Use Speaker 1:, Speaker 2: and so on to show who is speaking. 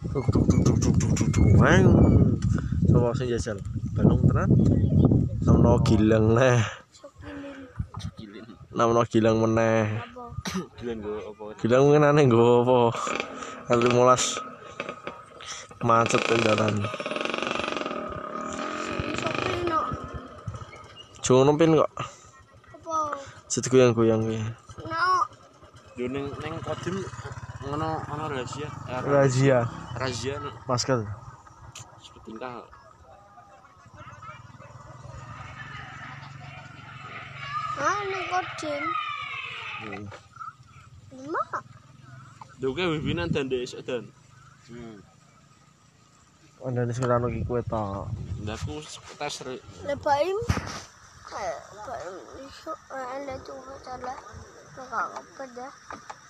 Speaker 1: tuk tuk tuk tuk tuk tuk tuk tuk weng sapa sing jajal Bandung tenan namno gilang neh
Speaker 2: Sokilin
Speaker 3: Gilin.
Speaker 1: namno gilang meneh
Speaker 2: apa?
Speaker 3: Gilin gue apa?
Speaker 1: gilang mungkin aneh nggo apa kali mulas macet di dalan
Speaker 2: Sing sokilin no.
Speaker 1: jono pin kok
Speaker 2: Apa?
Speaker 1: jet goyang-goyang kuwi
Speaker 2: No.
Speaker 3: Yo ning ning kodim ngono ana razia. eh, ra-
Speaker 1: razia
Speaker 3: Razia nek
Speaker 1: masker
Speaker 3: sebutin kah.
Speaker 2: Ah, ning kodim. Lima.
Speaker 3: Duke bibinan dan dek esok dan.
Speaker 1: ada di sekitar lagi kue tak
Speaker 3: Lah aku tes re-
Speaker 2: Lebaim. E, Lebaim. Isu. Ada cuma salah. Maka apa dah?